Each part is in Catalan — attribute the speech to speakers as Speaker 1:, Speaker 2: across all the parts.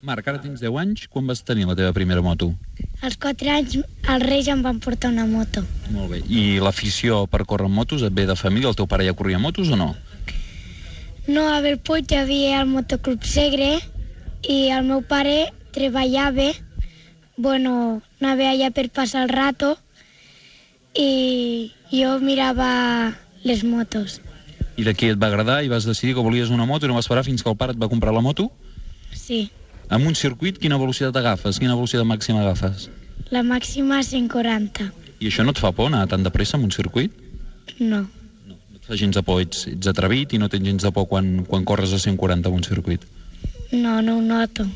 Speaker 1: Marc, ara tens 10 anys. Quan vas tenir la teva primera moto?
Speaker 2: Als 4 anys els Reis em van portar una moto.
Speaker 1: Molt bé. I l'afició per córrer amb motos et ve de família? El teu pare ja corria amb motos o no?
Speaker 2: No, a Bellpuig hi havia el motoclub Segre i el meu pare treballava, bueno, anava allà per passar el rato i jo mirava les motos.
Speaker 1: I d'aquí et va agradar i vas decidir que volies una moto i no vas parar fins que el pare et va comprar la moto?
Speaker 2: Sí,
Speaker 1: Amb un circuit, quina velocitat agafes? Quina velocitat màxima agafes?
Speaker 2: la màxima 140.
Speaker 1: I això no et fa por anar tan de pressa amb un circuit?
Speaker 2: No,
Speaker 1: No et fa gens de por, ets, ets atrevit i no tens gens de por quan, quan corres a 140 amb un circuit.
Speaker 2: no, no ho noto.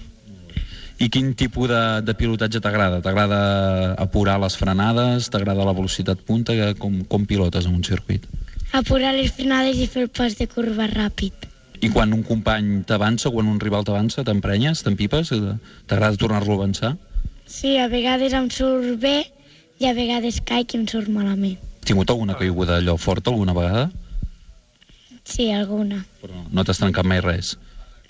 Speaker 1: I quin tipus de, de pilotatge t'agrada? T'agrada apurar les frenades? T'agrada la velocitat punta? Que- Com, com pilotes en un circuit?
Speaker 2: Apurar les frenades i fer el pas de curva ràpid.
Speaker 1: I quan un company t'avança, quan un rival t'avança, t'emprenyes, t'empipes? Eh, T'agrada tornar-lo a avançar?
Speaker 2: Sí, a vegades em surt bé i a vegades caic i em surt malament.
Speaker 1: Has tingut alguna caiguda allò forta alguna vegada?
Speaker 2: Sí, alguna.
Speaker 1: Però no t'has trencat mai res.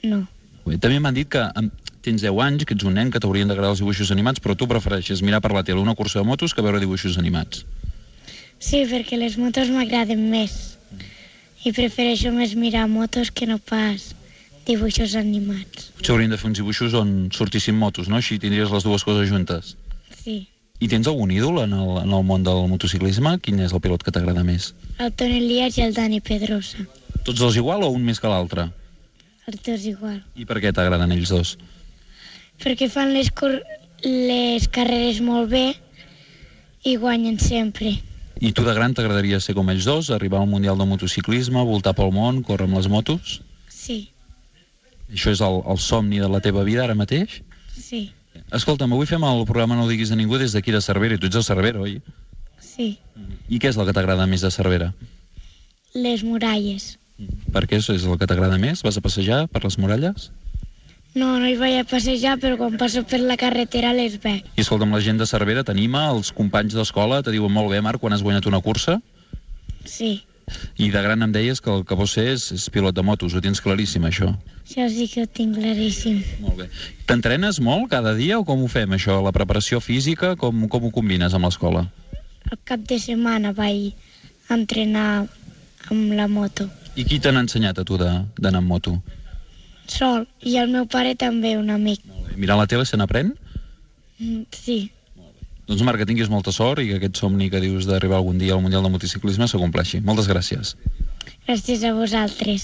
Speaker 2: No.
Speaker 1: Bé, també m'han dit que em, tens 10 anys, que ets un nen, que t'haurien d'agradar els dibuixos animats, però tu prefereixes mirar per la tele una cursa de motos que veure dibuixos animats.
Speaker 2: Sí, perquè les motos m'agraden més. I prefereixo més mirar motos que no pas dibuixos animats.
Speaker 1: Potser hauríem de fer uns dibuixos on sortissin motos, no? Així tindries les dues coses juntes.
Speaker 2: Sí.
Speaker 1: I tens algun ídol en el, en el món del motociclisme? Quin és el pilot que t'agrada més?
Speaker 2: El Toni Elias i el Dani Pedrosa.
Speaker 1: Tots dos igual o un més que l'altre?
Speaker 2: Els dos igual.
Speaker 1: I per què t'agraden ells dos?
Speaker 2: Perquè fan les, cor les carreres molt bé i guanyen sempre.
Speaker 1: I tu de gran t'agradaria ser com ells dos, arribar al Mundial de Motociclisme, voltar pel món, córrer amb les motos?
Speaker 2: Sí,
Speaker 1: Això és el, el somni de la teva vida ara mateix?
Speaker 2: sí,
Speaker 1: Escolta'm, avui fem el programa No ho diguis a ningú des d'aquí de Cervera, i tu ets de Cervera, oi?
Speaker 2: sí.
Speaker 1: I què és el que t'agrada més de Cervera?
Speaker 2: Les muralles.
Speaker 1: Perquè això és el que t'agrada més? Vas a passejar per les muralles?
Speaker 2: No, no hi vaig a passejar, però quan passo per la carretera les veig.
Speaker 1: I escolta'm, la gent de Cervera t'anima, els companys d'escola te diuen molt bé, Marc, quan has guanyat una cursa?
Speaker 2: Sí,
Speaker 1: I de gran em deies que el que vols ser és, és pilot de motos, ho tens claríssim, això.
Speaker 2: això sí que ho tinc claríssim.
Speaker 1: Molt bé. T'entrenes molt cada dia o com ho fem, això? La preparació física, com, com ho combines amb l'escola?
Speaker 2: Al cap de setmana vaig entrenar amb la moto.
Speaker 1: I qui t'han ensenyat a tu de- d'anar amb moto?
Speaker 2: Sol. I el meu pare també, un amic.
Speaker 1: Mirar la tele se n'aprèn?
Speaker 2: Mm, Sí,
Speaker 1: Doncs Marc, que tinguis molta sort i que aquest somni que dius d'arribar algun dia al Mundial de Motociclisme se compleixi. Moltes gràcies.
Speaker 2: gràcies a vosaltres.